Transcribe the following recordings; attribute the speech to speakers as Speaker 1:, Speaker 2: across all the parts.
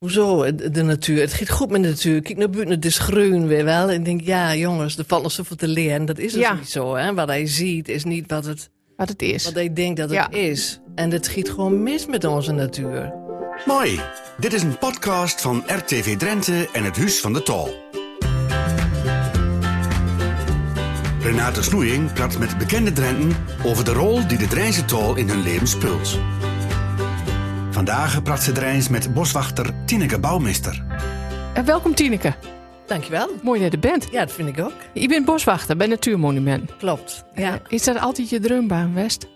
Speaker 1: Hoezo, de, de natuur? Het gaat goed met de natuur. Kijk naar buiten, het is groen weer wel. En ik denk, ja jongens, er valt nog zoveel te leren. Dat is dus
Speaker 2: Ja.
Speaker 1: niet zo. Hè? Wat hij ziet is niet wat, het,
Speaker 2: Wat het is.
Speaker 1: wat hij denkt dat het
Speaker 2: Ja.
Speaker 1: is. En het schiet gewoon mis met onze natuur.
Speaker 3: Mooi. Dit is een podcast van RTV Drenthe en het Huis van de Tal. Renate Snoeing praat met bekende Drenten over de rol die de Drijnse Tal in hun leven speelt. Vandaag praat ze Drijns met boswachter Tineke Bouwmeester.
Speaker 2: En Eh, welkom Tineke.
Speaker 1: Dankjewel.
Speaker 2: Mooi dat je er bent.
Speaker 1: Ja, dat vind ik ook.
Speaker 2: Je bent boswachter bij Natuurmonument.
Speaker 1: Klopt. Ja.
Speaker 2: Eh, Is dat altijd je droombaan, West?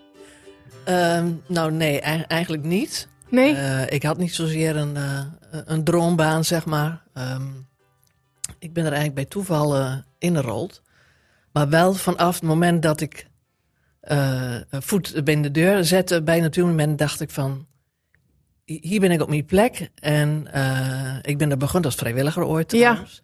Speaker 1: Ehm, nou nee, ei- eigenlijk niet.
Speaker 2: Nee?
Speaker 1: Eh, ik had niet zozeer een, eh, een droombaan, zeg maar. Ehm, ik ben er eigenlijk bij toeval eh ingerold. Maar wel vanaf het moment dat ik eh, een voet binnen de deur zette bij Natuurmonument, dacht ik van... hi- Hier ben ik op mijn plek en eh, ik ben er begonnen als vrijwilliger ooit
Speaker 2: Ja.
Speaker 1: trouwens.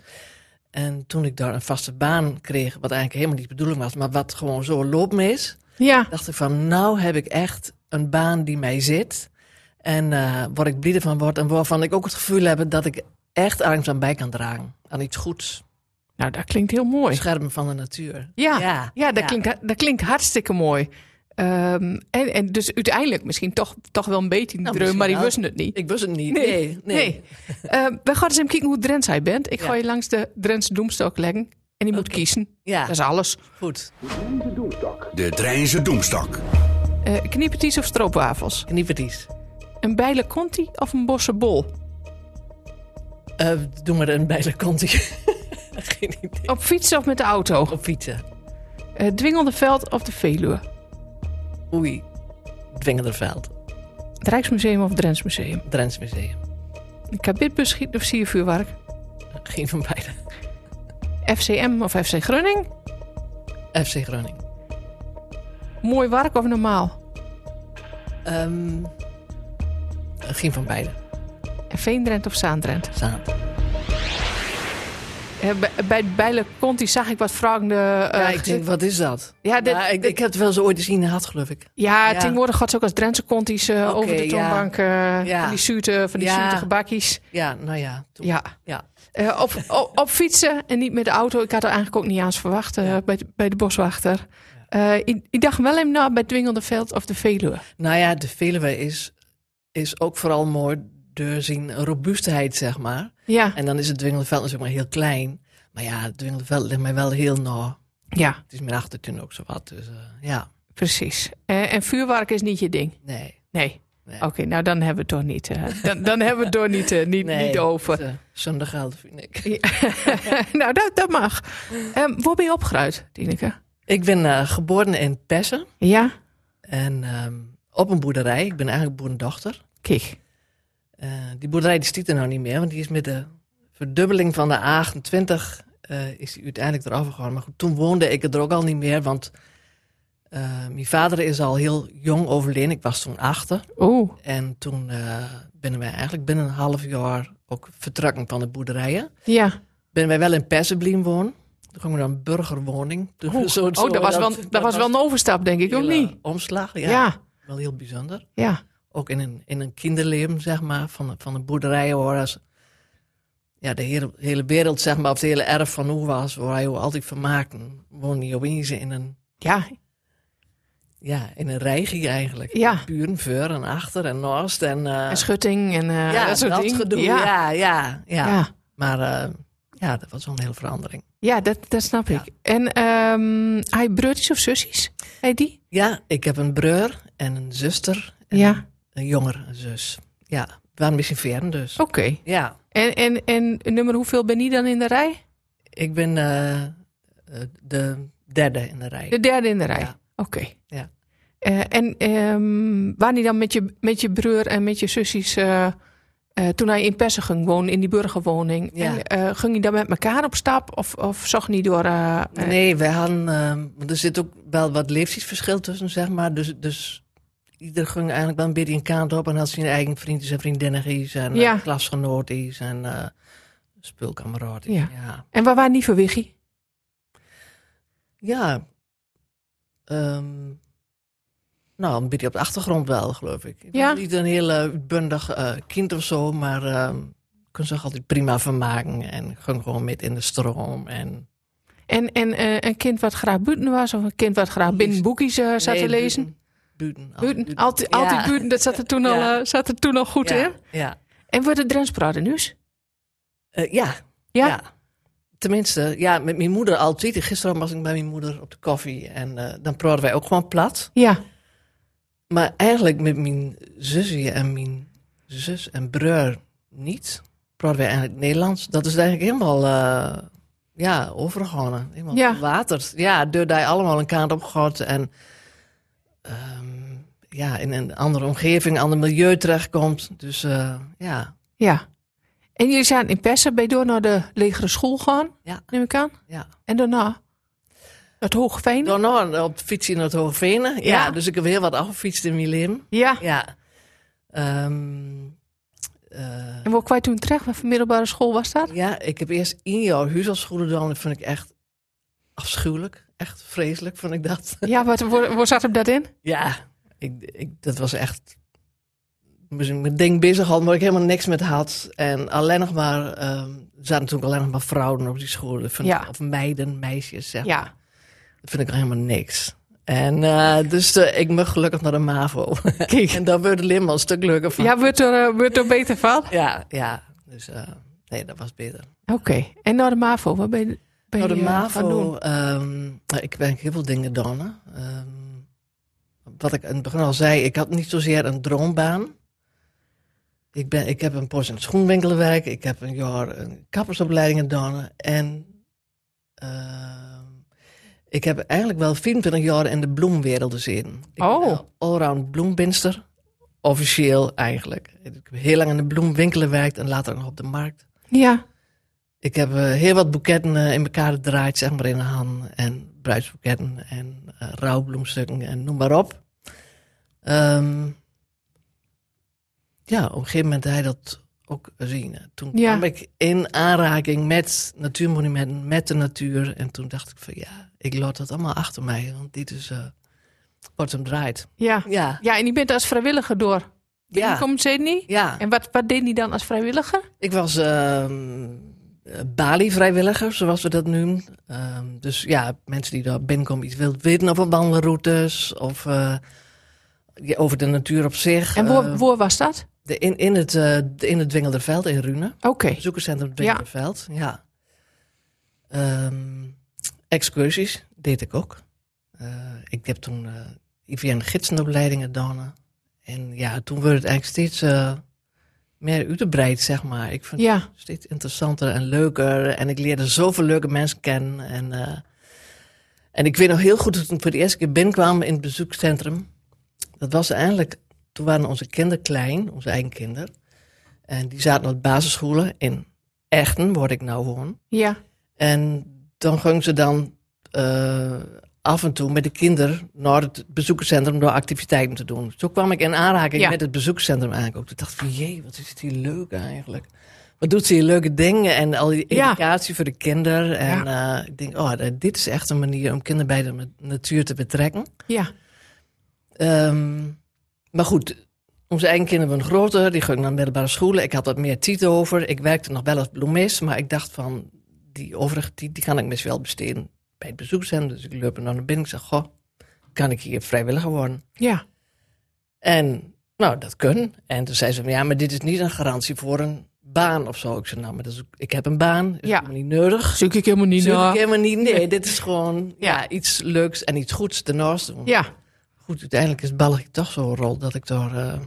Speaker 1: En toen ik daar een vaste baan kreeg, wat eigenlijk helemaal niet de bedoeling was, maar wat gewoon zo loopmees. is,
Speaker 2: ja.
Speaker 1: dacht ik van, nou heb ik echt een baan die mij zit. En eh waar ik blij van word en waarvan ik ook het gevoel heb dat ik echt ergens aan bij kan dragen. Aan iets goeds.
Speaker 2: Nou, dat klinkt heel mooi.
Speaker 1: Schermen van de natuur.
Speaker 2: Ja,
Speaker 1: Ja,
Speaker 2: ja, dat,
Speaker 1: ja.
Speaker 2: Klinkt, dat klinkt hartstikke mooi. Ehm, en, en dus uiteindelijk misschien toch, toch wel een beetje in de
Speaker 1: Nou,
Speaker 2: dreun, maar die
Speaker 1: misschien
Speaker 2: wisten het niet.
Speaker 1: Ik was het niet.
Speaker 2: Nee,
Speaker 1: Nee, nee.
Speaker 2: Ehm, we gaan eens even kijken hoe Drents hij bent. Ik
Speaker 1: Ja.
Speaker 2: ga je langs de Drentse doemstok leggen. En die moet kiezen.
Speaker 1: Ja,
Speaker 2: Dat is alles.
Speaker 1: goed.
Speaker 3: De Drijnse Doemstak.
Speaker 2: Eh kniepertjes of stroopwafels?
Speaker 1: Knieperties.
Speaker 2: Een bijle conti of een bosse bol?
Speaker 1: Eh doe maar een bij de kant. Geen idee.
Speaker 2: Op fietsen of met de auto?
Speaker 1: Op fietsen.
Speaker 2: Eh dwingende veld of de Veluwe?
Speaker 1: Oei. Dwingenderveld.
Speaker 2: Het Rijksmuseum of Drents Museum?
Speaker 1: Drents Museum.
Speaker 2: Een kabitbus schieten of siervuurwerk?
Speaker 1: Geen van beide.
Speaker 2: FCM of FC Grunning?
Speaker 1: FC Groningen.
Speaker 2: Mooi werk of normaal?
Speaker 1: Ehm, geen van beide.
Speaker 2: En Veendrent of Zaandrent?
Speaker 1: Samen.
Speaker 2: Eh, bij- Bij Bijle Conti zag ik wat vragende... eh,
Speaker 1: Ja, ik denk, wat is dat?
Speaker 2: Ja, dit-
Speaker 1: Maar Nou, ik,
Speaker 2: dit-
Speaker 1: ik heb het wel eens ooit eens gehad, geloof ik.
Speaker 2: ja,
Speaker 1: ja.
Speaker 2: tegenwoordig gaat ze ook als Drentse Conti's eh,
Speaker 1: Oké,
Speaker 2: over de
Speaker 1: ja.
Speaker 2: toonbank. eh,
Speaker 1: Ja.
Speaker 2: Van die zuurte, van die
Speaker 1: Ja.
Speaker 2: zuurtige bakjes.
Speaker 1: Ja, nou ja. toen-
Speaker 2: Ja.
Speaker 1: ja.
Speaker 2: Eh, op, op, op fietsen en niet met de auto. Ik had er eigenlijk ook niet aan verwacht eh, bij, de, bij de boswachter. Eh, ik, ik dacht wel even na bij Dwingelde Veld of de Veluwe.
Speaker 1: Nou ja, de Veluwe is, is ook vooral mooi door zijn robuustheid, zeg maar.
Speaker 2: Ja,
Speaker 1: En dan is het Dwingelenveld natuurlijk maar heel klein. Maar ja, het Dwingelenveld ligt mij wel heel nauw.
Speaker 2: ja
Speaker 1: Het is mijn achtertuin ook zo wat. Dus eh, ja,
Speaker 2: precies. Eh, en vuurwerk is niet je ding?
Speaker 1: nee.
Speaker 2: Nee.
Speaker 1: Nee.
Speaker 2: Oké, nou dan hebben we het toch niet. eh, dan, dan hebben we het toch niet, eh, niet,
Speaker 1: nee
Speaker 2: niet over.
Speaker 1: het, eh, Zonder geld, vind ik.
Speaker 2: nou, dat, dat mag. Ehm waar ben je opgeruid, Tineke?
Speaker 1: Ik ben eh, geboren in Pessen.
Speaker 2: Ja?
Speaker 1: En ehm, op een boerderij. Ik ben eigenlijk boerendochter.
Speaker 2: Kijk.
Speaker 1: Eh, die boerderij die stiet er nou niet meer, want die is met de verdubbeling van de A28 eh, is die uiteindelijk eraf gegaan. Maar goed, toen woonde ik er ook al niet meer, want eh, mijn vader is al heel jong overleden. Ik was toen achter.
Speaker 2: Oeh,
Speaker 1: En toen eh binnen wij eigenlijk binnen een half jaar ook vertrekken van de boerderijen.
Speaker 2: ja.
Speaker 1: Ben wij wel in Persenbliem wonen. Toen gingen we naar een burgerwoning. Toen-
Speaker 2: Oeh.
Speaker 1: zo- zo-
Speaker 2: oh, dat was wel, dat was wel een overstap, denk ik,
Speaker 1: een
Speaker 2: of
Speaker 1: hele
Speaker 2: niet?
Speaker 1: omslag, ja.
Speaker 2: Ja,
Speaker 1: Wel heel bijzonder
Speaker 2: ja.
Speaker 1: ook in een, in een kinderleven, zeg maar, van, de- van de boerderijen waar als, ja, de hele, hele wereld, zeg maar, of het hele erf van hoe was, waar hij altijd van maakten, woonde je opeens in een,
Speaker 2: Ja,
Speaker 1: ja, in een rijgie eigenlijk.
Speaker 2: Ja.
Speaker 1: Met Buren, voor en achter en Norst en, eh,
Speaker 2: en schutting en eh,
Speaker 1: ja,
Speaker 2: dat soort dingen.
Speaker 1: gedoe. Ja,
Speaker 2: Ja.
Speaker 1: ja, ja.
Speaker 2: Ja.
Speaker 1: Maar eh, ja, dat was wel een hele verandering.
Speaker 2: Ja, dat, dat snap ik. En ehm hij broertjes of zusjes? Hij die?
Speaker 1: Ja, ik heb een broer en een zuster en
Speaker 2: Ja.
Speaker 1: een jongere zus. Ja, we waren misschien ver dus.
Speaker 2: Oké.
Speaker 1: Ja.
Speaker 2: En, en, en nummer hoeveel ben je dan in de rij?
Speaker 1: Ik ben eh, eh, de derde in de rij.
Speaker 2: De derde in de rij.
Speaker 1: Ja.
Speaker 2: Oké.
Speaker 1: Ja.
Speaker 2: Eh, en ehm wanneer dan met je, met je broer en met je zusjes, eh, eh, toen hij in Pessen ging wonen, in die burgerwoning,
Speaker 1: Ja.
Speaker 2: en, eh, ging hij dan met elkaar op stap of, of zag hij door... eh, eh,
Speaker 1: Nee, wij hadden. ehm, want er zit ook wel wat leeftijdsverschil tussen, zeg maar. Dus, dus ieder ging eigenlijk wel een beetje een kant op en had zijn eigen vriendjes en vriendinnetjes en
Speaker 2: Ja.
Speaker 1: ja. klasgenootjes en eh speelkameraadjes.
Speaker 2: Ja.
Speaker 1: Ja. ja.
Speaker 2: En waar waren die voor Wiggy?
Speaker 1: Ehm, nou, een beetje op de achtergrond wel, geloof ik. Ik
Speaker 2: Ja.
Speaker 1: was niet een heel eh, uitbundig eh, kind of zo, maar ehm, kunnen zich altijd prima vermaken en gaan gewoon met in de stroom. En
Speaker 2: En, en eh, een kind wat graag buiten was, of een kind wat graag binnen boekjes eh, zat te lezen.
Speaker 1: Buiten.
Speaker 2: Buiten, altijd, altijd
Speaker 1: Ja.
Speaker 2: buiten, dat zat er toen, al,
Speaker 1: Ja.
Speaker 2: eh, zat er toen al goed
Speaker 1: ja.
Speaker 2: in.
Speaker 1: Ja.
Speaker 2: En wordt het Drents praten nu? Ja?
Speaker 1: Eh, ja. ja. Tenminste, ja, met mijn moeder altijd. Gisteren was ik bij mijn moeder op de koffie en eh, dan praten wij ook gewoon plat.
Speaker 2: Ja.
Speaker 1: Maar eigenlijk met mijn zusje en mijn zus en broer niet. Praten wij eigenlijk Nederlands. Dat is eigenlijk helemaal eh, ja, overgegaan. Helemaal
Speaker 2: Ja.
Speaker 1: verwaterd. Ja, door daar allemaal een kaart op gehad. En ehm, ja, in een andere omgeving, ander milieu terechtkomt. Dus eh, ja,
Speaker 2: ja. En jullie zijn in Persen, ben je door naar de legere school gegaan,
Speaker 1: Ja.
Speaker 2: neem ik aan.
Speaker 1: ja.
Speaker 2: En daarna? Het Hoogveen?
Speaker 1: Dan nog op de fiets in het Hoogvenen. Ja,
Speaker 2: Ja.
Speaker 1: dus ik heb heel wat afgefietst in mijn lim.
Speaker 2: Ja.
Speaker 1: Ja. Ehm, eh,
Speaker 2: En waar kwam je toen terecht? Wat voor middelbare school was dat?
Speaker 1: ja, ik heb eerst één jaar huisartschoenen gedaan. Dat vond ik echt afschuwelijk. Echt vreselijk vond ik dat.
Speaker 2: Ja, wat, waar, waar zat hem dat in?
Speaker 1: Ja, ik, ik, dat was echt... moest ik Mijn ding bezig had, waar ik helemaal niks met had. En alleen nog maar... ehm, er zaten natuurlijk alleen nog maar vrouwen op die scholen. Dat vind ik-
Speaker 2: Ja.
Speaker 1: Of meiden, meisjes, zeg
Speaker 2: Ja.
Speaker 1: Dat vind ik al helemaal niks. En eh, dus eh, ik mag gelukkig naar de MAVO. en daar wordt Lim al een stuk leuker van.
Speaker 2: Ja, wordt er, eh, wordt er beter van?
Speaker 1: ja. ja. Dus eh, nee, dat was beter.
Speaker 2: Oké. En naar de MAVO, waar ben je, ben
Speaker 1: Nou, de
Speaker 2: je, eh, gaan
Speaker 1: MAVO,
Speaker 2: doen?
Speaker 1: ehm, nou, ik ben heel veel dingen gedaan. hè. Ehm, wat ik in het begin al zei, ik had niet zozeer een droombaan. Ik, ben, ik heb een post in het schoenwinkel gewerkt. Ik heb een jaar een kappersopleiding gedaan. En ehm, ik heb eigenlijk wel 24 jaar in de bloemwereld gezien. Ik
Speaker 2: Oh.
Speaker 1: ben een allround bloembinster. Officieel eigenlijk. Ik heb heel lang in de bloemwinkelen gewerkt en later nog op de markt.
Speaker 2: Ja.
Speaker 1: Ik heb eh, heel wat boeketten eh, in elkaar gedraaid, zeg maar in de hand. En bruidsboeketten en eh, rouwbloemstukken en noem maar op. Ehm, ja, op een gegeven moment had hij dat ook zien. Toen
Speaker 2: Ja.
Speaker 1: kwam ik in aanraking met natuurmonumenten, met de natuur. En toen dacht ik van ja, ik laat dat allemaal achter mij. Want dit is eh wat hem draait.
Speaker 2: Ja.
Speaker 1: Ja,
Speaker 2: Ja, en je bent als vrijwilliger door. Ja.
Speaker 1: ja,
Speaker 2: Komt Sydney?
Speaker 1: ja.
Speaker 2: En wat, wat deed hij dan als vrijwilliger?
Speaker 1: Ik was ehm, eh, Bali-vrijwilliger, zoals we dat noemen. Ehm, dus ja, mensen die daar binnenkomen iets wilt weten over wandelroutes of eh, ja, over de natuur op zich.
Speaker 2: En waar,
Speaker 1: Eh,
Speaker 2: waar was dat?
Speaker 1: de, in, in, het, eh, de- in het Dwingelderveld in Rune,
Speaker 2: Oké.
Speaker 1: bezoekerscentrum Dwingelderveld. Ja. Ehm, excursies deed ik ook. Eh, ik heb toen eh IVN-gidsenopleidingen gedaan. En ja, toen werd het eigenlijk steeds eh, meer uitgebreid, zeg maar. Ik vind
Speaker 2: Ja.
Speaker 1: steeds interessanter en leuker. En ik leerde zoveel leuke mensen kennen. En, eh, en ik weet nog heel goed toen ik voor de eerste keer binnenkwam in het bezoekcentrum. Dat was eigenlijk, toen waren onze kinderen klein, onze eigen kinderen. En die zaten op basisscholen in Echten, waar ik nou woon.
Speaker 2: Ja.
Speaker 1: En dan gingen ze dan eh, af en toe met de kinderen naar het bezoekerscentrum door activiteiten te doen. Zo kwam ik in aanraking
Speaker 2: Ja.
Speaker 1: met het bezoekerscentrum eigenlijk ook. Toen dacht ik van, jee, wat is het hier leuk eigenlijk. Wat doet ze hier leuke dingen en al die
Speaker 2: Ja.
Speaker 1: educatie voor de kinderen. En eh, ik denk, oh, dit is echt een manier om kinderen bij de ma- natuur te betrekken.
Speaker 2: Ja.
Speaker 1: Ehm, maar goed, onze eigen kinderen waren groter. Die gingen naar middelbare scholen. Ik had wat meer tijd over. Ik werkte nog wel als bloemist. Maar ik dacht van, die overige tijd die kan ik misschien wel besteden bij het bezoekcentrum. Dus ik loop er naar binnen. Ik zeg, goh, kan ik hier vrijwilliger worden?
Speaker 2: Ja.
Speaker 1: En nou, dat kunnen. En toen zei ze, van, ja, maar dit is niet een garantie voor een baan of zo. Ik zei, nou, maar dat is, ook- ik heb een baan. Is
Speaker 2: Ja.
Speaker 1: helemaal niet nodig.
Speaker 2: Zoek ik helemaal niet
Speaker 1: Zoek ik
Speaker 2: naar.
Speaker 1: helemaal niet. Nee, dit is gewoon ja.
Speaker 2: Ja.
Speaker 1: iets leuks en iets goeds daarnaast. Want
Speaker 2: Ja.
Speaker 1: goed, uiteindelijk is België toch zo'n rol dat ik daar eh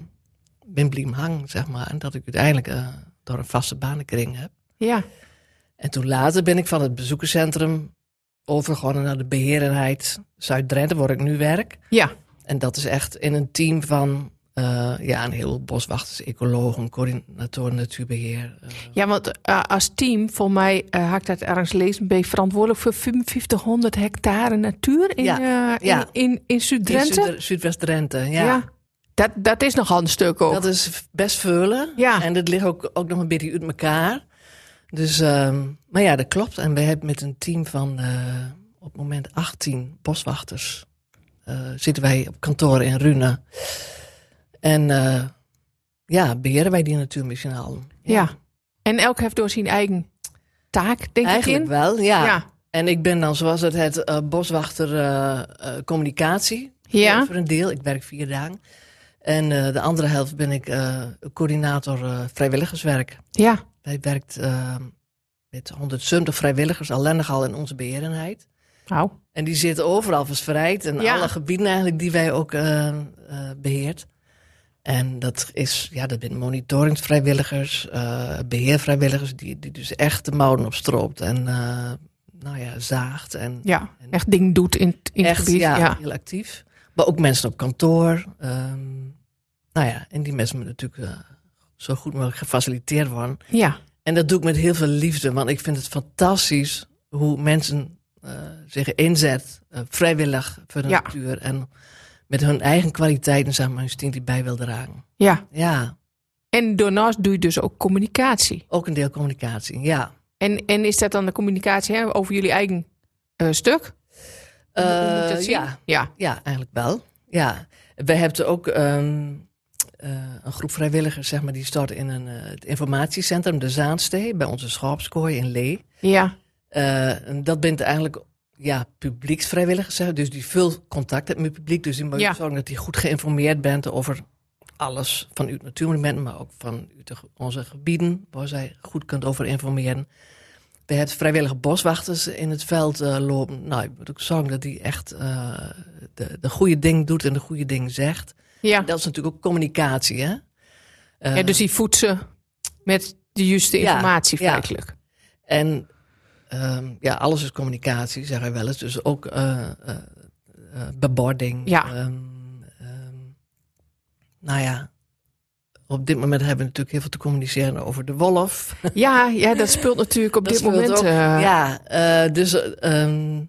Speaker 1: ben bliem hang, zeg maar. En dat ik uiteindelijk eh door een vaste banenkring heb.
Speaker 2: Ja.
Speaker 1: En toen later ben ik van het bezoekerscentrum overgegaan naar de beheerderheid Zuid-Drenthe, waar ik nu werk.
Speaker 2: Ja.
Speaker 1: En dat is echt in een team van eh, ja, een heleboel boswachters, ecologen, coördinatoren natuurbeheer. eh,
Speaker 2: Ja, want eh, als team, voor mij eh had ik dat ergens lezen, ben je verantwoordelijk voor 5500 hectare natuur in,
Speaker 1: Ja.
Speaker 2: eh, in,
Speaker 1: Ja.
Speaker 2: in, in,
Speaker 1: in
Speaker 2: Zuid-Drenthe.
Speaker 1: Zuid- Zuidwest-Drenthe, ja.
Speaker 2: Dat, dat is nogal een stuk ook.
Speaker 1: Dat is best veulen.
Speaker 2: Ja.
Speaker 1: En dat ligt ook, ook nog een beetje uit elkaar. Dus, ehm, maar ja, dat klopt. En we hebben met een team van eh, op het moment 18 boswachters. eh, zitten wij op kantoor in Rune. En eh, ja, beheren wij die natuur misschien al.
Speaker 2: ja. En elk heeft door zijn eigen taak, denk
Speaker 1: Eigenlijk
Speaker 2: ik in.
Speaker 1: wel, ja.
Speaker 2: Ja.
Speaker 1: En ik ben dan, zoals het het, eh, boswachter eh, eh, communicatie.
Speaker 2: Ja.
Speaker 1: Eh, Voor een deel. Ik werk vier dagen. En eh, de andere helft ben ik eh, coördinator eh, vrijwilligerswerk.
Speaker 2: Ja,
Speaker 1: Wij werkt eh, met 170 vrijwilligers alleen nog al in onze beheerenheid.
Speaker 2: nou,
Speaker 1: En die zitten overal verspreid in
Speaker 2: Ja.
Speaker 1: alle gebieden eigenlijk die wij ook eh, eh, beheert. En dat is, ja, dat zijn monitoringsvrijwilligers, eh, beheervrijwilligers, die, die dus echt de mouwen opstroopt en eh, nou ja, zaagt en
Speaker 2: ja. Echt ding doet in, het- in het
Speaker 1: echt
Speaker 2: gebied.
Speaker 1: ja,
Speaker 2: Ja. Ja.
Speaker 1: heel actief. Maar ook mensen op kantoor. ehm, nou ja, en die mensen moeten natuurlijk eh, zo goed mogelijk gefaciliteerd worden. En dat doe ik met heel veel liefde, want ik vind het fantastisch hoe mensen eh, zich inzet, eh, vrijwillig voor de
Speaker 2: Ja.
Speaker 1: natuur en met hun eigen kwaliteiten, zeg maar, hun stint die bij wil dragen.
Speaker 2: ja.
Speaker 1: Ja,
Speaker 2: En daarnaast doe je dus ook communicatie.
Speaker 1: ook een deel communicatie, ja.
Speaker 2: En, en is dat dan de communicatie hè, over jullie eigen eh, stuk? Hoe- hoe moet
Speaker 1: Eh,
Speaker 2: ik dat zien?
Speaker 1: ja,
Speaker 2: Ja.
Speaker 1: ja, eigenlijk wel. Ja, we hebben ook ehm, eh, een groep vrijwilligers, zeg maar, die start in een, eh, het informatiecentrum, de Zaanstee, bij onze schaapskooi in Lee.
Speaker 2: Ja.
Speaker 1: Eh, en dat bent eigenlijk ja, publieksvrijwilligers. Zeg. Dus die veel contact hebt met het publiek. Dus die moet
Speaker 2: Ja.
Speaker 1: zorgen dat je goed geïnformeerd bent over alles van uw natuurmonument, maar ook van uw te- onze gebieden, waar zij goed kunt over informeren. We hebben vrijwillige boswachters in het veld eh, lopen. Nou, je moet ook zorgen dat die echt eh, de, de goede ding doet en de goede ding zegt.
Speaker 2: Ja.
Speaker 1: Dat is natuurlijk ook communicatie, hè? Eh,
Speaker 2: ja, dus die voedt ze met de juiste
Speaker 1: Ja,
Speaker 2: informatie
Speaker 1: ja.
Speaker 2: feitelijk.
Speaker 1: En ehm, ja, alles is communicatie, zeggen wij wel eens. Dus ook eh, eh, eh, bebording.
Speaker 2: Ja.
Speaker 1: ehm, ehm, nou ja, op dit moment hebben we natuurlijk heel veel te communiceren over de wolf.
Speaker 2: Ja. Ja, dat speelt natuurlijk op
Speaker 1: Dat
Speaker 2: dit
Speaker 1: speelt
Speaker 2: moment.
Speaker 1: ook,
Speaker 2: eh,
Speaker 1: ja, eh, dus eh, ehm,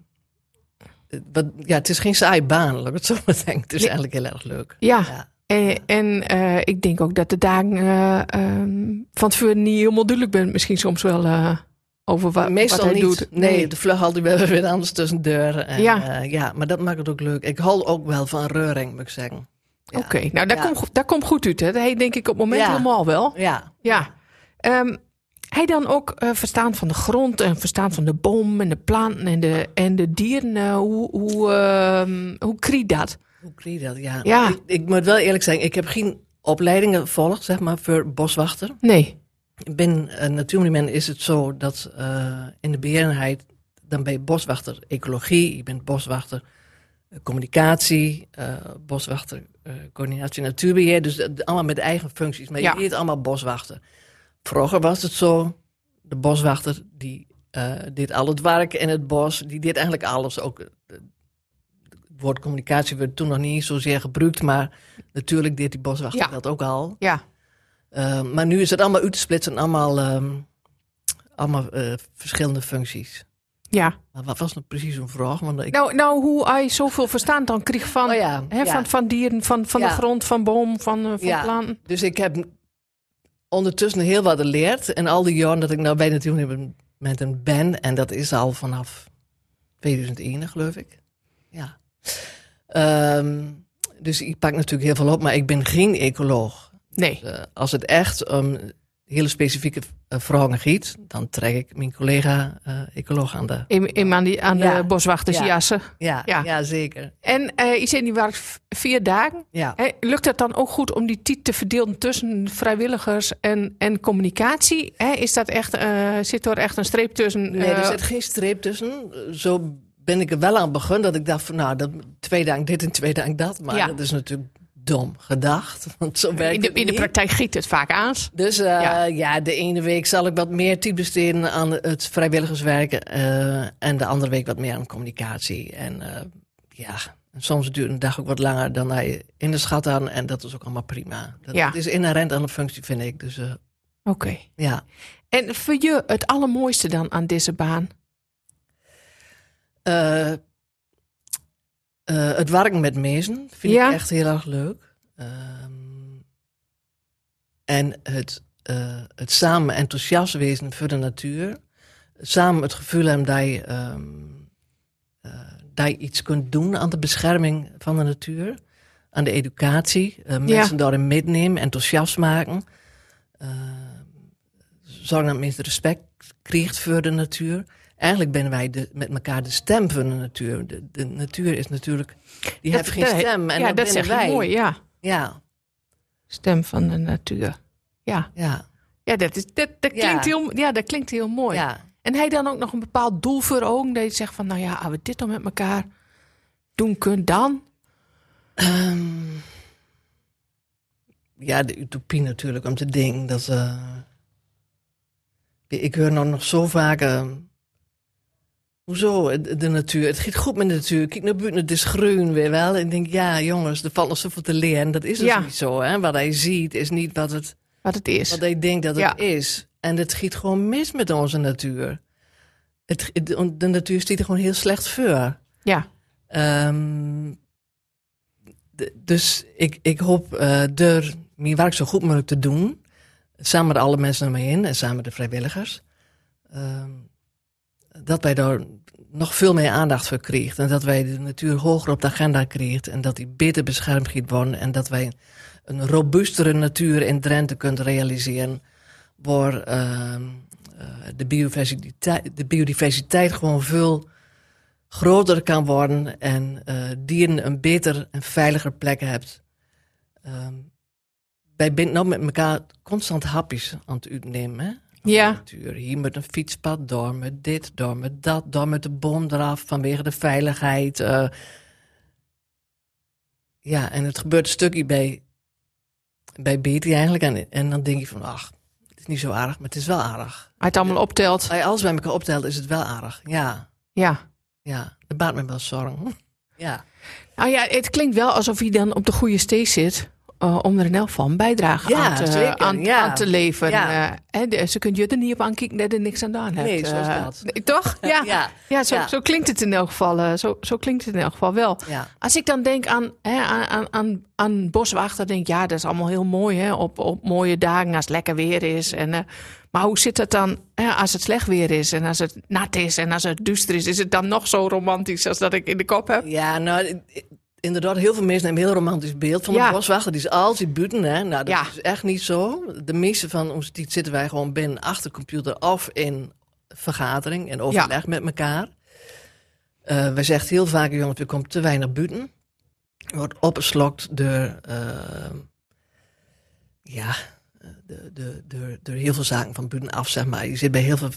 Speaker 1: wat, ja, het is geen saaie baan, laat ik het zo maar zeggen. Het is
Speaker 2: Nee. Ah,
Speaker 1: eigenlijk heel erg leuk.
Speaker 2: ja.
Speaker 1: Ja.
Speaker 2: En, en eh, ik denk ook dat de dagen eh, ehm, van tevoren niet helemaal duidelijk bent. Misschien soms wel eh, over wa-
Speaker 1: Meestal
Speaker 2: wat hij
Speaker 1: niet.
Speaker 2: doet.
Speaker 1: Nee, de vlug haalt die weer weer anders tussen deuren. En,
Speaker 2: Ja.
Speaker 1: eh, ja, maar dat maakt het ook leuk. Ik hou ook wel van reuring, moet ik zeggen. Ja.
Speaker 2: Oké, nou daar,
Speaker 1: Ja.
Speaker 2: komt, go- daar komt goed uit. Hè. Dat heet denk ik op het moment
Speaker 1: Ja.
Speaker 2: helemaal wel.
Speaker 1: Ja,
Speaker 2: Ja. Ehm, hij dan ook eh, verstaan van de grond en verstaan van de boom en de planten en de, en de dieren. eh, hoe, hoe, ehm, hoe kriet dat?
Speaker 1: Hoe kreeg je dat? Ja.
Speaker 2: Ja.
Speaker 1: Ik, ik moet wel eerlijk zijn, ik heb geen opleidingen gevolgd, zeg maar, voor boswachter.
Speaker 2: Nee.
Speaker 1: Binnen een natuurmonument is het zo dat eh, in de beheerenheid, dan ben je boswachter ecologie, je bent boswachter eh, communicatie, eh, boswachter eh, coördinatie natuurbeheer. Dus dat- allemaal met eigen functies, maar
Speaker 2: Ja.
Speaker 1: je heet allemaal boswachter. Vroeger was het zo, de boswachter die eh deed al het werk in het bos, die deed eigenlijk alles. Ook, eh, het woord communicatie werd toen nog niet zozeer gebruikt, maar natuurlijk deed die boswachter
Speaker 2: Ja.
Speaker 1: dat ook al.
Speaker 2: Ja.
Speaker 1: Eh, maar nu is het allemaal uit te splitsen, en allemaal, ehm, allemaal eh, verschillende functies.
Speaker 2: ja.
Speaker 1: Maar wat was nou precies een vraag? Want ik,
Speaker 2: Nou, nou, hoe hij zoveel verstaan dan kreeg van,
Speaker 1: Oh ja,
Speaker 2: hè,
Speaker 1: ja.
Speaker 2: van, van dieren, van, van de
Speaker 1: Ja.
Speaker 2: grond, van boom, van, eh, van
Speaker 1: Ja.
Speaker 2: planten.
Speaker 1: Dus ik heb ondertussen heel wat geleerd. En al die jaren dat ik nou bij natuurmonument ben, en dat is al vanaf 2001, geloof ik. Ja. Ehm, dus ik pak natuurlijk heel veel op, maar ik ben geen ecoloog.
Speaker 2: Nee.
Speaker 1: Eh, als het echt om hele specifieke eh, vragen giet, dan trek ik mijn collega eh, ecoloog aan de
Speaker 2: In, in aan, die, aan
Speaker 1: Ja.
Speaker 2: de boswachtersjassen.
Speaker 1: Ja,
Speaker 2: Ja.
Speaker 1: ja. zeker.
Speaker 2: En eh je zei, die werkt v- vier dagen.
Speaker 1: Ja.
Speaker 2: Hè, lukt het dan ook goed om die titel te verdelen tussen vrijwilligers en, en communicatie? Hè, is dat echt, eh, zit er echt een streep tussen?
Speaker 1: Nee, dus er
Speaker 2: eh,
Speaker 1: zit geen streep tussen. Zo ben ik er wel aan begonnen dat ik dacht van nou, dat, twee dagen dit en twee dagen dat. Maar
Speaker 2: Ja.
Speaker 1: dat is natuurlijk dom gedacht, want zo werkt
Speaker 2: in, de,
Speaker 1: het
Speaker 2: in de
Speaker 1: niet.
Speaker 2: praktijk giet het vaak aan.
Speaker 1: Dus eh,
Speaker 2: Ja.
Speaker 1: ja. de ene week zal ik wat meer tijd besteden aan het vrijwilligerswerken. eh, en de andere week wat meer aan communicatie. En eh, ja, en soms duurt een dag ook wat langer dan hij in de schat aan. En dat is ook allemaal prima. Dat,
Speaker 2: Ja.
Speaker 1: dat is inherent aan de functie, vind ik. Dus eh,
Speaker 2: Oké.
Speaker 1: ja.
Speaker 2: En voor je het allermooiste dan aan deze baan?
Speaker 1: Eh, eh, het werken met mensen vind
Speaker 2: Ja.
Speaker 1: ik echt heel erg leuk. Ehm, en het, eh, het samen enthousiast wezen voor de natuur. Samen het gevoel hebben dat je, ehm, eh, dat je iets kunt doen aan de bescherming van de natuur. Aan de Ehm, educatie. eh, mensen daarin meenemen, enthousiast maken. Eh, zorgen dat mensen respect krijgt voor de natuur. Eigenlijk ben wij de, met elkaar de stem van de natuur. De, de natuur is natuurlijk, die heeft geen
Speaker 2: nee,
Speaker 1: stem. En
Speaker 2: ja, dat
Speaker 1: binnen
Speaker 2: zeg je
Speaker 1: wij.
Speaker 2: mooi, ja.
Speaker 1: Ja,
Speaker 2: Stem van de natuur. Ja,
Speaker 1: ja,
Speaker 2: ja, dat, is, dat, dat
Speaker 1: Ja.
Speaker 2: Klinkt heel, ja dat klinkt heel mooi.
Speaker 1: ja.
Speaker 2: En hij dan ook nog een bepaald doel voor ogen. Dat je zegt van, nou ja, als we dit dan met elkaar doen kunnen, dan...
Speaker 1: Ehm, ja, de utopie natuurlijk om te denken. Dat, eh, ik hoor nou nog zo vaak. eh, hoezo, eh, de natuur? Het gaat goed met de natuur. Kijk naar buiten, het is groen weer wel. En ik denk, ja, jongens, er valt nog zoveel te leren. Dat is dus
Speaker 2: Ja.
Speaker 1: niet zo. Hè? Wat hij ziet is niet wat, het,
Speaker 2: Wat het is.
Speaker 1: wat hij denkt dat het
Speaker 2: Ja.
Speaker 1: is. En het schiet gewoon mis met onze natuur. Het, de, de natuur stiet er gewoon heel slecht voor.
Speaker 2: Ja,
Speaker 1: Ehm, d- dus ik, ik hoop eh door mijn werk zo goed mogelijk te doen. Samen met alle mensen om me heen en samen met de vrijwilligers. ehm, dat wij daar nog veel meer aandacht voor krijgen. En dat wij de natuur hoger op de agenda krijgen. En dat die beter beschermd gaat worden. En dat wij een robuustere natuur in Drenthe kunnen realiseren. Waar ehm, eh, de, biodiversiteit, de biodiversiteit gewoon veel groter kan worden en eh, dieren een beter en veiliger plek hebt. Ehm, wij zijn nou met elkaar constant hapjes aan het uitnemen. Hè? Van
Speaker 2: Ja.
Speaker 1: de natuur. Hier met een fietspad, door met dit, door met dat, door met de boom eraf vanwege de veiligheid. eh. ja, en het gebeurt een stukje bij, bij Beatty eigenlijk. En, en dan denk je van, ach, het is niet zo aardig, maar het is wel aardig.
Speaker 2: als je het allemaal optelt.
Speaker 1: Als je alles bij elkaar optelt, is het wel aardig, ja.
Speaker 2: Ja.
Speaker 1: Ja, dat baart me wel zorgen. Ja.
Speaker 2: Nou ja, het klinkt wel alsof je dan op de goede steeg zit. eh, om er in elk van bijdrage
Speaker 1: Ja,
Speaker 2: aan, te,
Speaker 1: zeker,
Speaker 2: aan,
Speaker 1: ja.
Speaker 2: aan te leveren.
Speaker 1: Ja.
Speaker 2: Eh, hè, de- ze kunt je er niet op aankijken dat je er niks aan gedaan hebt.
Speaker 1: Nee, zo is
Speaker 2: Eh,
Speaker 1: dat.
Speaker 2: nee, toch? Ja, ja.
Speaker 1: Ja.
Speaker 2: zo,
Speaker 1: Ja.
Speaker 2: zo klinkt het in elk geval. eh, zo, zo klinkt het in elk geval wel.
Speaker 1: Ja.
Speaker 2: Als ik dan denk aan, hè, aan, aan, aan, aan boswachter, denk ik, ja, dat is allemaal heel mooi. Hè, op, op mooie dagen, als het lekker weer is. En, eh, maar hoe zit het dan hè, als het slecht weer is en als het nat is en als het duister is? Is het dan nog zo romantisch als dat ik in de kop heb?
Speaker 1: ja, nou, i- i- inderdaad, heel veel mensen hebben een heel romantisch beeld van
Speaker 2: Ja.
Speaker 1: de boswachter. Die is altijd buiten, hè. Nou, dat
Speaker 2: Ja.
Speaker 1: is echt niet zo. De meeste van ons die zitten wij gewoon binnen achter de computer of in vergadering en overleg met elkaar. Eh wij zeggen heel vaak, jongens, er komt te weinig buiten. Je wordt opgeslokt door, eh, ja, eh, door- door- door- door heel veel zaken van buiten af, zeg maar. Je zit bij heel veel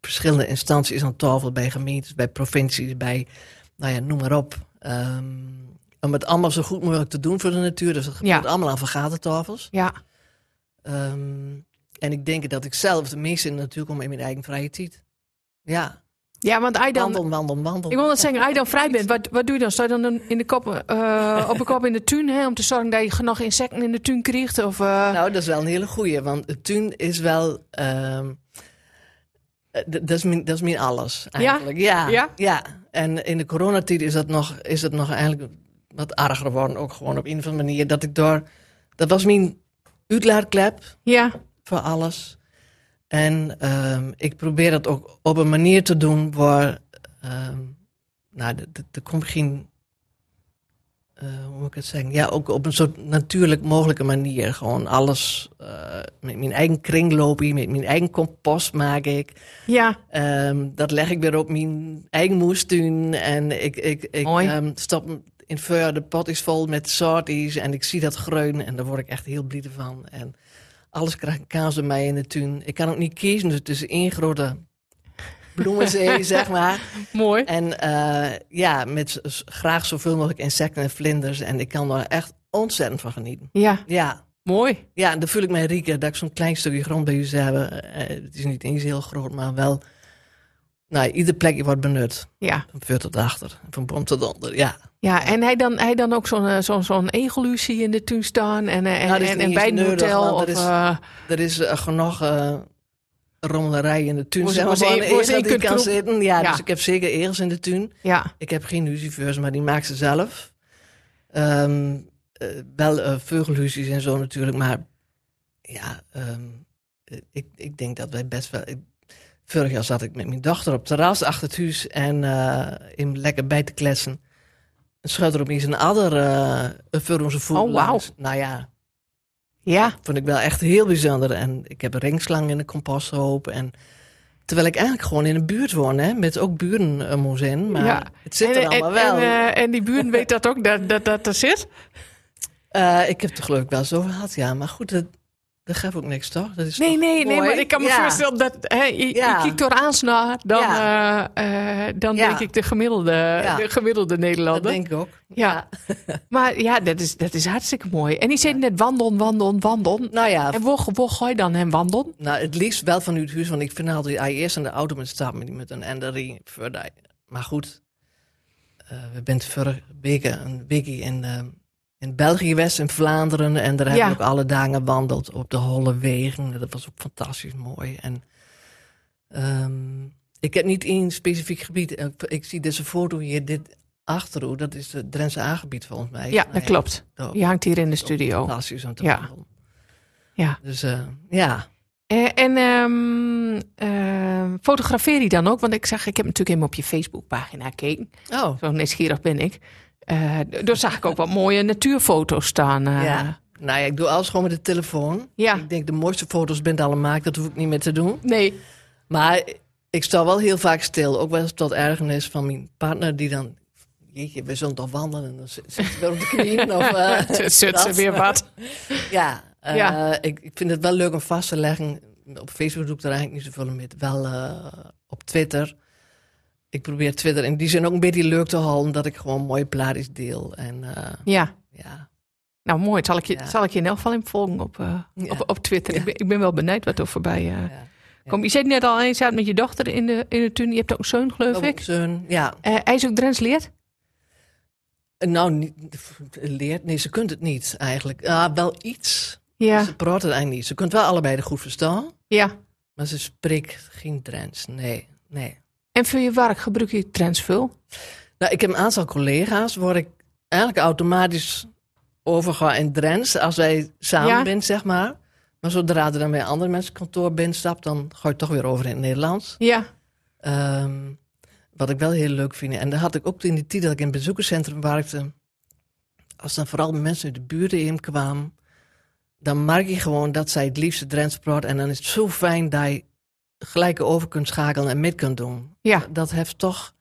Speaker 1: verschillende instanties aan tafel, bij gemeentes, bij provincies, bij, nou ja, noem maar op. Ehm, om het allemaal zo goed mogelijk te doen voor de natuur. Dus dat
Speaker 2: Ja.
Speaker 1: gebeurt allemaal aan vergadertafels.
Speaker 2: Ja,
Speaker 1: Ehm, en ik denk dat ik zelf de meeste in de natuur kom in mijn eigen vrije tijd. Ja,
Speaker 2: ja want hij dan.
Speaker 1: wandel, wandel, wandel.
Speaker 2: Ik wil dat zeggen, als je dan vrij bent, wat, wat doe je dan? Sta je dan een- in de kop, eh, op de kop in de tuin hè, om te zorgen dat je genoeg insecten in de tuin krijgt? Of, eh,
Speaker 1: Nou, dat is wel een hele goeie, want het tuin is wel... ehm, eh, d- dat, is mijn, dat is mijn alles, eigenlijk. Ja?
Speaker 2: Ja?
Speaker 1: En in de coronatijd is dat nog, is dat nog eigenlijk wat erger geworden. Ook gewoon op een of andere manier. Dat ik door... Dat was mijn uitlaatklep.
Speaker 2: ja,
Speaker 1: voor alles. En ehm, ik probeer dat ook op een manier te doen waar. ehm, nou, d- d- er komt geen. eh, hoe moet ik het zeggen? Ja, ook op een soort natuurlijk mogelijke manier. Gewoon alles. eh, met mijn eigen kringloopje, met mijn eigen compost maak ik.
Speaker 2: ja.
Speaker 1: Ehm, dat leg ik weer op mijn eigen moestuin. En ik, ik, ik
Speaker 2: Mooi.
Speaker 1: ehm, stop hem in het vuur, de pot is vol met sorties. En ik zie dat groen en daar word ik echt heel blij van. En alles krijgt kaas bij mij in de tuin. Ik kan ook niet kiezen dus tussen één grote bloemenzee, zeg maar.
Speaker 2: Mooi.
Speaker 1: En eh, ja, met s- s- graag zoveel mogelijk insecten en vlinders. En ik kan daar echt ontzettend van genieten.
Speaker 2: Ja,
Speaker 1: Ja.
Speaker 2: mooi.
Speaker 1: Ja, en dan voel ik mij rieker dat ik zo'n klein stukje grond bij u zou hebben. Eh, het is niet eens heel groot, maar wel... Nou, ieder plekje wordt benut.
Speaker 2: Ja,
Speaker 1: Van voor tot achter, van bom tot onder, ja.
Speaker 2: ja en hij dan, hij dan ook zo'n eh, zo'n zo'n egeluzie in de tuin staan en, eh, en,
Speaker 1: Nou, dat is
Speaker 2: en,
Speaker 1: niet
Speaker 2: en
Speaker 1: eens
Speaker 2: bij een
Speaker 1: nodig,
Speaker 2: hotel.
Speaker 1: want
Speaker 2: Of,
Speaker 1: er is-
Speaker 2: eh,
Speaker 1: Er is eh, genoeg eh, rommelerij in de tuin.
Speaker 2: Hoe ze-
Speaker 1: zeg maar,
Speaker 2: hoe ze-
Speaker 1: waar een
Speaker 2: hoe ze
Speaker 1: egel
Speaker 2: in
Speaker 1: die
Speaker 2: kunt
Speaker 1: kan
Speaker 2: knoepen.
Speaker 1: zitten. Ja,
Speaker 2: Ja.
Speaker 1: dus ik heb zeker egels in de tuin.
Speaker 2: ja,
Speaker 1: Ik heb geen lucifers, maar die maakt ze zelf. Ehm, eh, wel eh veugelhuisjes en zo natuurlijk, maar ja, ehm, eh, ik, ik denk dat wij best wel... ik- vorig jaar zat ik met mijn dochter op het terras achter het huis en eh in lekker bij te kletsen. Een schuit er opeens een adder eh voor onze voet
Speaker 2: Oh, wauw.
Speaker 1: langs. Nou ja,
Speaker 2: Ja,
Speaker 1: vond ik wel echt heel bijzonder. En ik heb een ringslang in de composthoop. En, terwijl ik eigenlijk gewoon in een buurt woon, hè, met ook burenmuseum. Maar
Speaker 2: ja.
Speaker 1: het zit er
Speaker 2: En- en-
Speaker 1: allemaal wel.
Speaker 2: En, eh, en die buren weet dat ook, dat dat, dat er zit?
Speaker 1: Eh, ik heb het er geloof ik wel eens over gehad, ja. Maar goed, dat, dat geeft ook niks, toch? Dat is
Speaker 2: Nee, nee, nee,
Speaker 1: mooi.
Speaker 2: maar ik kan me
Speaker 1: Ja.
Speaker 2: voorstellen dat hè, je, je
Speaker 1: Ja.
Speaker 2: kijkt door aansnaar, dan, eh, eh, dan
Speaker 1: Ja.
Speaker 2: denk ik de gemiddelde, de gemiddelde
Speaker 1: dat
Speaker 2: Nederlander.
Speaker 1: denk ik ook.
Speaker 2: ja. maar ja, dat is, dat is hartstikke mooi. En die zei net wandelen, wandelen, wandelen.
Speaker 1: Nou ja,
Speaker 2: En waar, waar ga je dan hem wandelen?
Speaker 1: nou, het liefst wel van het huis. Want ik vind altijd, als je eerst in de auto moet stappen met een enderie. voor die- Maar goed, eh, we bent vorige week een weekje in, eh, in België geweest, in Vlaanderen. En daar hebben
Speaker 2: Ja.
Speaker 1: we ook alle dagen gewandeld op de holle wegen. Dat was ook fantastisch mooi. En ehm, ik heb niet één specifiek gebied. Ik, ik zie deze foto hier, dit achterhoek. Dat is het Drentse A-gebied volgens mij.
Speaker 2: Ja,
Speaker 1: Nou
Speaker 2: dat klopt.
Speaker 1: dat-
Speaker 2: Je hangt hier in de
Speaker 1: dat is ook
Speaker 2: studio.
Speaker 1: Fantastisch om te
Speaker 2: Ja.
Speaker 1: wandelen.
Speaker 2: Ja.
Speaker 1: Dus eh, ja.
Speaker 2: Eh, en ehm, ehm, fotografeer je dan ook? Want ik zag, ik heb natuurlijk helemaal op je Facebookpagina gekeken.
Speaker 1: Oh,
Speaker 2: Zo nieuwsgierig ben ik. Eh daar zag ik ook wat mooie natuurfoto's staan. eh.
Speaker 1: Ja. Nou ja, ik doe alles gewoon met de telefoon.
Speaker 2: Ja.
Speaker 1: Ik denk de mooiste foto's bent alle maakt, dat hoef ik niet meer te doen.
Speaker 2: Nee.
Speaker 1: Maar ik sta wel heel vaak stil, ook wel eens tot ergernis van mijn partner die dan, jeetje, we zullen toch wandelen en dan zit zit ze weer op de knieën of eh,
Speaker 2: Zet ze
Speaker 1: dat.
Speaker 2: weer wat.
Speaker 1: Ja, eh,
Speaker 2: Ja.
Speaker 1: Ik, ik vind het wel leuk om vast te leggen. Op Facebook doe ik er eigenlijk niet zoveel mee. Wel eh, op Twitter. Ik probeer Twitter in die zin ook een beetje leuk te houden, omdat ik gewoon mooie plaatjes deel en eh,
Speaker 2: Ja.
Speaker 1: ja.
Speaker 2: Nou, mooi. Zal ik je,
Speaker 1: Ja.
Speaker 2: zal ik je in elk geval in volgen op, eh,
Speaker 1: Ja.
Speaker 2: op, op Twitter.
Speaker 1: Ja.
Speaker 2: Ik, ben, ik ben wel benieuwd wat er voorbij eh,
Speaker 1: ja.
Speaker 2: komt. Je zit net al eens uit met je dochter in de, in de tuin. Je hebt ook een zoon, geloof
Speaker 1: Oh.
Speaker 2: ik.
Speaker 1: Zo'n- ja.
Speaker 2: Eh, hij is ook Drents leert.
Speaker 1: Eh, Nou, niet, leert. Nee, ze kunt het niet eigenlijk. Ah, wel iets.
Speaker 2: Ja.
Speaker 1: Ze praat het eigenlijk niet. Ze kunt wel allebei de goed verstaan,
Speaker 2: ja.
Speaker 1: maar ze spreekt geen Drents. Nee, nee.
Speaker 2: En voor je werk gebruik je Drents veel?
Speaker 1: Nou, ik heb een aantal collega's waar ik eigenlijk automatisch over ga in Drents als wij samen
Speaker 2: Ja.
Speaker 1: zijn, zeg maar. Maar zodra er dan bij andere mensen kantoor binnenstapt, dan ga je toch weer over in het Nederlands.
Speaker 2: Ja.
Speaker 1: Ehm, wat ik wel heel leuk vind. En dat had ik ook in die tijd dat ik in het bezoekerscentrum werkte. Als dan vooral mensen uit de buurt heen kwamen. Dan merk je gewoon dat zij het liefste Drents praat. En dan is het zo fijn dat je gelijk over kunt schakelen en mee kunt doen.
Speaker 2: Ja.
Speaker 1: Dat heeft toch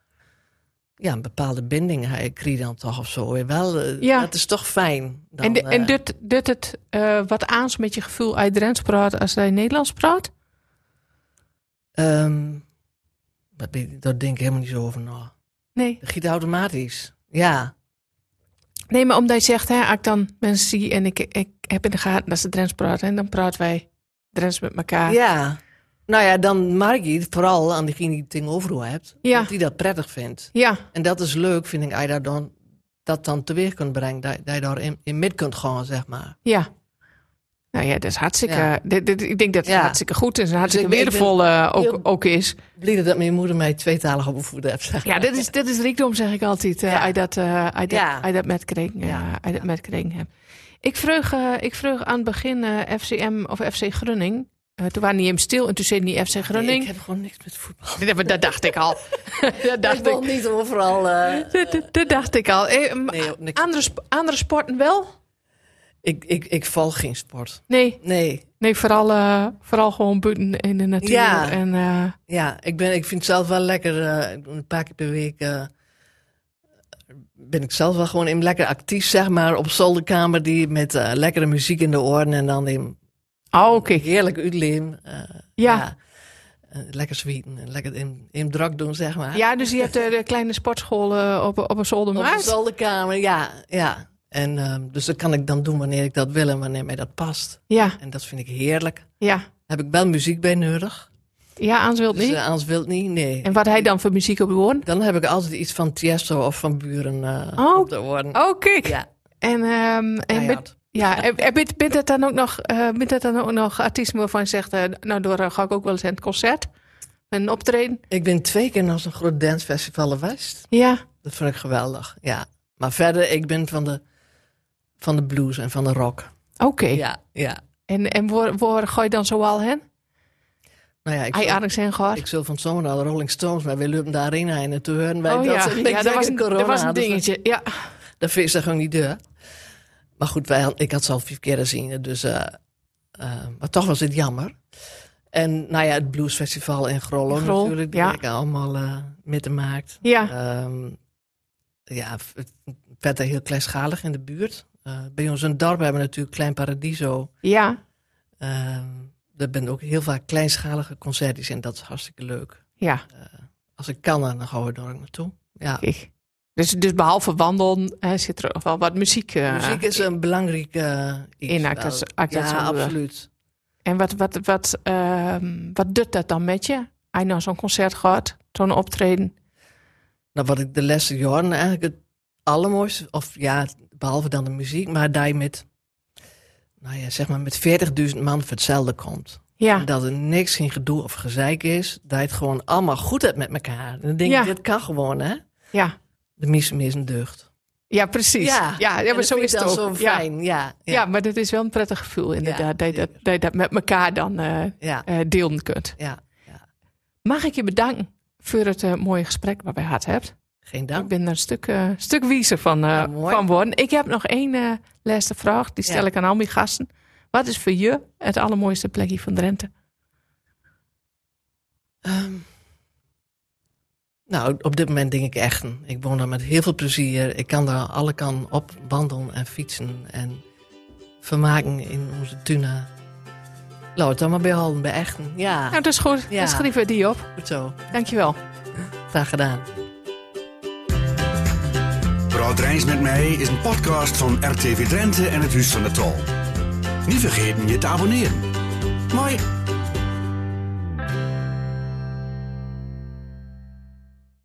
Speaker 1: ja, een bepaalde binding. Hij kreeg dan toch of zo. hè. Wel, eh,
Speaker 2: Ja.
Speaker 1: Dat is toch fijn. Dan,
Speaker 2: en de- en
Speaker 1: eh,
Speaker 2: doet, doet het eh, wat aans met je gevoel uit Drents praat als hij Nederlands praat?
Speaker 1: ehm, dat weet ik- daar denk ik helemaal niet zo over na.
Speaker 2: Nee.
Speaker 1: Dat giet automatisch. Ja.
Speaker 2: Nee, maar omdat je zegt, hè, als ik dan mensen zie en ik, ik heb in de gaten dat ze Drents praten, en dan praten wij Drents met elkaar.
Speaker 1: Ja. Nou ja, dan merk je het vooral aan diegene die het ding overal hebt,
Speaker 2: Ja.
Speaker 1: dat die dat prettig vindt.
Speaker 2: ja.
Speaker 1: En dat is leuk, vind ik, als je dat dan, dat dan teweeg kunt brengen, dat, dat je daar in, in mid kunt gaan, zeg maar.
Speaker 2: Ja. Nou ja, dat is hartstikke.
Speaker 1: Ja.
Speaker 2: dit- dit- ik denk dat het
Speaker 1: Ja. Dus
Speaker 2: hartstikke goed is en hartstikke
Speaker 1: ik ben- ik ben
Speaker 2: waardevol eh, ook,
Speaker 1: heel-
Speaker 2: ook is.
Speaker 1: Blij dat mijn moeder mij tweetalig opgevoed heeft, zeg
Speaker 2: Ja, dit is, dit is rijkdom, zeg ik altijd. eh
Speaker 1: Ja.
Speaker 2: als je dat, eh, als je dat-
Speaker 1: Ja.
Speaker 2: als je dat met kring, eh,
Speaker 1: Ja.
Speaker 2: als je dat met kring hebt. Ik vroeg, eh, ik vroeg aan het begin eh, FCM of FC Grunning. Eh, toen waren die hem stil en toen zei die FC
Speaker 1: Nee,
Speaker 2: Grunning.
Speaker 1: ik heb gewoon niks met voetbal.
Speaker 2: Nee, maar dat dacht ik al.
Speaker 1: ik
Speaker 2: dat dacht
Speaker 1: wil
Speaker 2: ik.
Speaker 1: niet overal... eh,
Speaker 2: Dat, dat- dat dacht ik al. Eh, maar
Speaker 1: nee, ook niks.
Speaker 2: andere, sp- andere sporten wel?
Speaker 1: Ik, ik, ik val geen sport.
Speaker 2: Nee,
Speaker 1: Nee,
Speaker 2: nee vooral, eh, vooral gewoon buiten in de natuur.
Speaker 1: Ja.
Speaker 2: En, eh,
Speaker 1: ja, ik, ben, ik vind het zelf wel lekker, eh, ik doe een paar keer per week... eh, ben ik zelf wel gewoon in lekker actief, zeg maar, op zolderkamer die met eh, lekkere muziek in de oren en dan in
Speaker 2: Oh, oké.
Speaker 1: Heerlijk Udleem. eh,
Speaker 2: Ja.
Speaker 1: Eh, lekker zwieten en lekker in, in drak doen, zeg maar.
Speaker 2: Ja, dus je hebt eh, de kleine sportschool eh, op, op een zolder
Speaker 1: Op de
Speaker 2: maar.
Speaker 1: zolderkamer, ja. ja. En, ehm, dus dat kan ik dan doen wanneer ik dat wil en wanneer mij dat past.
Speaker 2: Ja,
Speaker 1: En dat vind ik heerlijk.
Speaker 2: ja.
Speaker 1: Heb ik wel muziek bij nodig.
Speaker 2: Ja, Aans wil het
Speaker 1: Dus
Speaker 2: niet.
Speaker 1: eh, anders wil het niet, nee.
Speaker 2: en wat hij dan voor muziek op de oren?
Speaker 1: Dan heb ik altijd iets van Tiesto of van Buren eh,
Speaker 2: Oh.
Speaker 1: op de oren.
Speaker 2: Oh, kijk.
Speaker 1: Ja, Nou
Speaker 2: En, ehm en
Speaker 1: keihard.
Speaker 2: bent- ja, en- en bent- bent het dan ook nog, eh bent het dan ook nog artiesten waarvan je zegt, eh, nou, door eh, ga ik ook wel eens in het concert. Een optreden.
Speaker 1: Ik ben twee keer naar zo'n groot dancefestival geweest.
Speaker 2: Ja,
Speaker 1: Dat vind ik geweldig, ja. Maar verder, ik ben van de, van de blues en van de rock.
Speaker 2: oké.
Speaker 1: Ja, ja.
Speaker 2: En, en waar, waar ga je dan zoal hen?
Speaker 1: Nou ja, ik
Speaker 2: Hij
Speaker 1: zul-
Speaker 2: aardig zijn gehad.
Speaker 1: Ik zul van het zomer naar de Rolling Stones, maar we lopen de arena in en te horen. Wij,
Speaker 2: oh
Speaker 1: dat,
Speaker 2: ja,
Speaker 1: is een
Speaker 2: ja
Speaker 1: beetje
Speaker 2: dat, was een,
Speaker 1: corona,
Speaker 2: dat was een
Speaker 1: dus
Speaker 2: dingetje. Ja,
Speaker 1: dat, dat vind ik gewoon niet deur. Maar goed, wij, had- ik had ze al vijf keer gezien. Dus, eh, eh, maar toch was het jammer. En nou ja, het Bluesfestival in Grollo
Speaker 2: Grol,
Speaker 1: natuurlijk. Die
Speaker 2: ja.
Speaker 1: ik allemaal eh mee te maakt.
Speaker 2: Ja,
Speaker 1: Ehm, ja, v- het werd er heel kleinschalig in de buurt. Eh, bij ons in het dorp hebben we natuurlijk Klein Paradiso.
Speaker 2: ja,
Speaker 1: Ehm er zijn ook heel vaak kleinschalige concertjes en dat is hartstikke leuk. Eh,
Speaker 2: ja.
Speaker 1: Als ik kan, dan gaan we er ook naartoe. Ja.
Speaker 2: Kijk. Dus, dus behalve wandelen eh, zit er ook wel wat muziek, eh,
Speaker 1: Muziek is een belangrijk eh, iets.
Speaker 2: in Actes-
Speaker 1: wel.
Speaker 2: Actes
Speaker 1: Ja,
Speaker 2: Amber.
Speaker 1: absoluut.
Speaker 2: En wat, wat, wat, ehm, wat doet dat dan met je? Als je nou zo'n concert gaat, zo'n optreden.
Speaker 1: Nou, wat ik de laatste jaren eigenlijk het allermooiste, of ja, behalve dan de muziek, maar daar je met, nou ja, zeg maar met 40.000 man voor hetzelfde komt.
Speaker 2: Ja,
Speaker 1: Dat er niks geen gedoe of gezeik is, dat je het gewoon allemaal goed hebt met elkaar. En dan denk
Speaker 2: Ja.
Speaker 1: ik, dit kan gewoon, hè?
Speaker 2: ja.
Speaker 1: De mis is een deugd.
Speaker 2: ja precies. Ja, ja,
Speaker 1: en
Speaker 2: maar
Speaker 1: dat
Speaker 2: zo
Speaker 1: vind
Speaker 2: is
Speaker 1: ik
Speaker 2: het
Speaker 1: dan
Speaker 2: ook.
Speaker 1: zo
Speaker 2: ja.
Speaker 1: fijn, ja.
Speaker 2: Ja.
Speaker 1: Ja, ja.
Speaker 2: maar dat is wel een prettig gevoel inderdaad. dat, je dat,
Speaker 1: zeker.
Speaker 2: dat je dat met elkaar dan eh
Speaker 1: ja.
Speaker 2: eh, delen kunt. Mag ik je bedanken voor het eh, mooie gesprek wat wij gehad hebben?
Speaker 1: Geen
Speaker 2: Ik
Speaker 1: dank.
Speaker 2: ben er een stuk, eh stuk wiezer van, eh
Speaker 1: Ja, mooi.
Speaker 2: van worden. Ik heb nog één eh laatste vraag. Die stel
Speaker 1: Ja.
Speaker 2: ik aan al mijn gasten. Wat is voor je het allermooiste plekje van Drenthe?
Speaker 1: Ehm, nou, op dit moment denk ik echt. Ik woon daar met heel veel plezier. Ik kan daar alle kan op wandelen en fietsen en vermaken in onze tuna. Laat het dan maar bij halen, bij Echten. Ja,
Speaker 2: Nou, dat is goed.
Speaker 1: Ja.
Speaker 2: Dan schrijven we die op.
Speaker 1: goed zo.
Speaker 2: Dankjewel.
Speaker 1: Graag gedaan.
Speaker 3: Praat Rijns met mij is een podcast van RTV Drenthe en het Huis van de Tal. Niet vergeten je te abonneren. Mooi.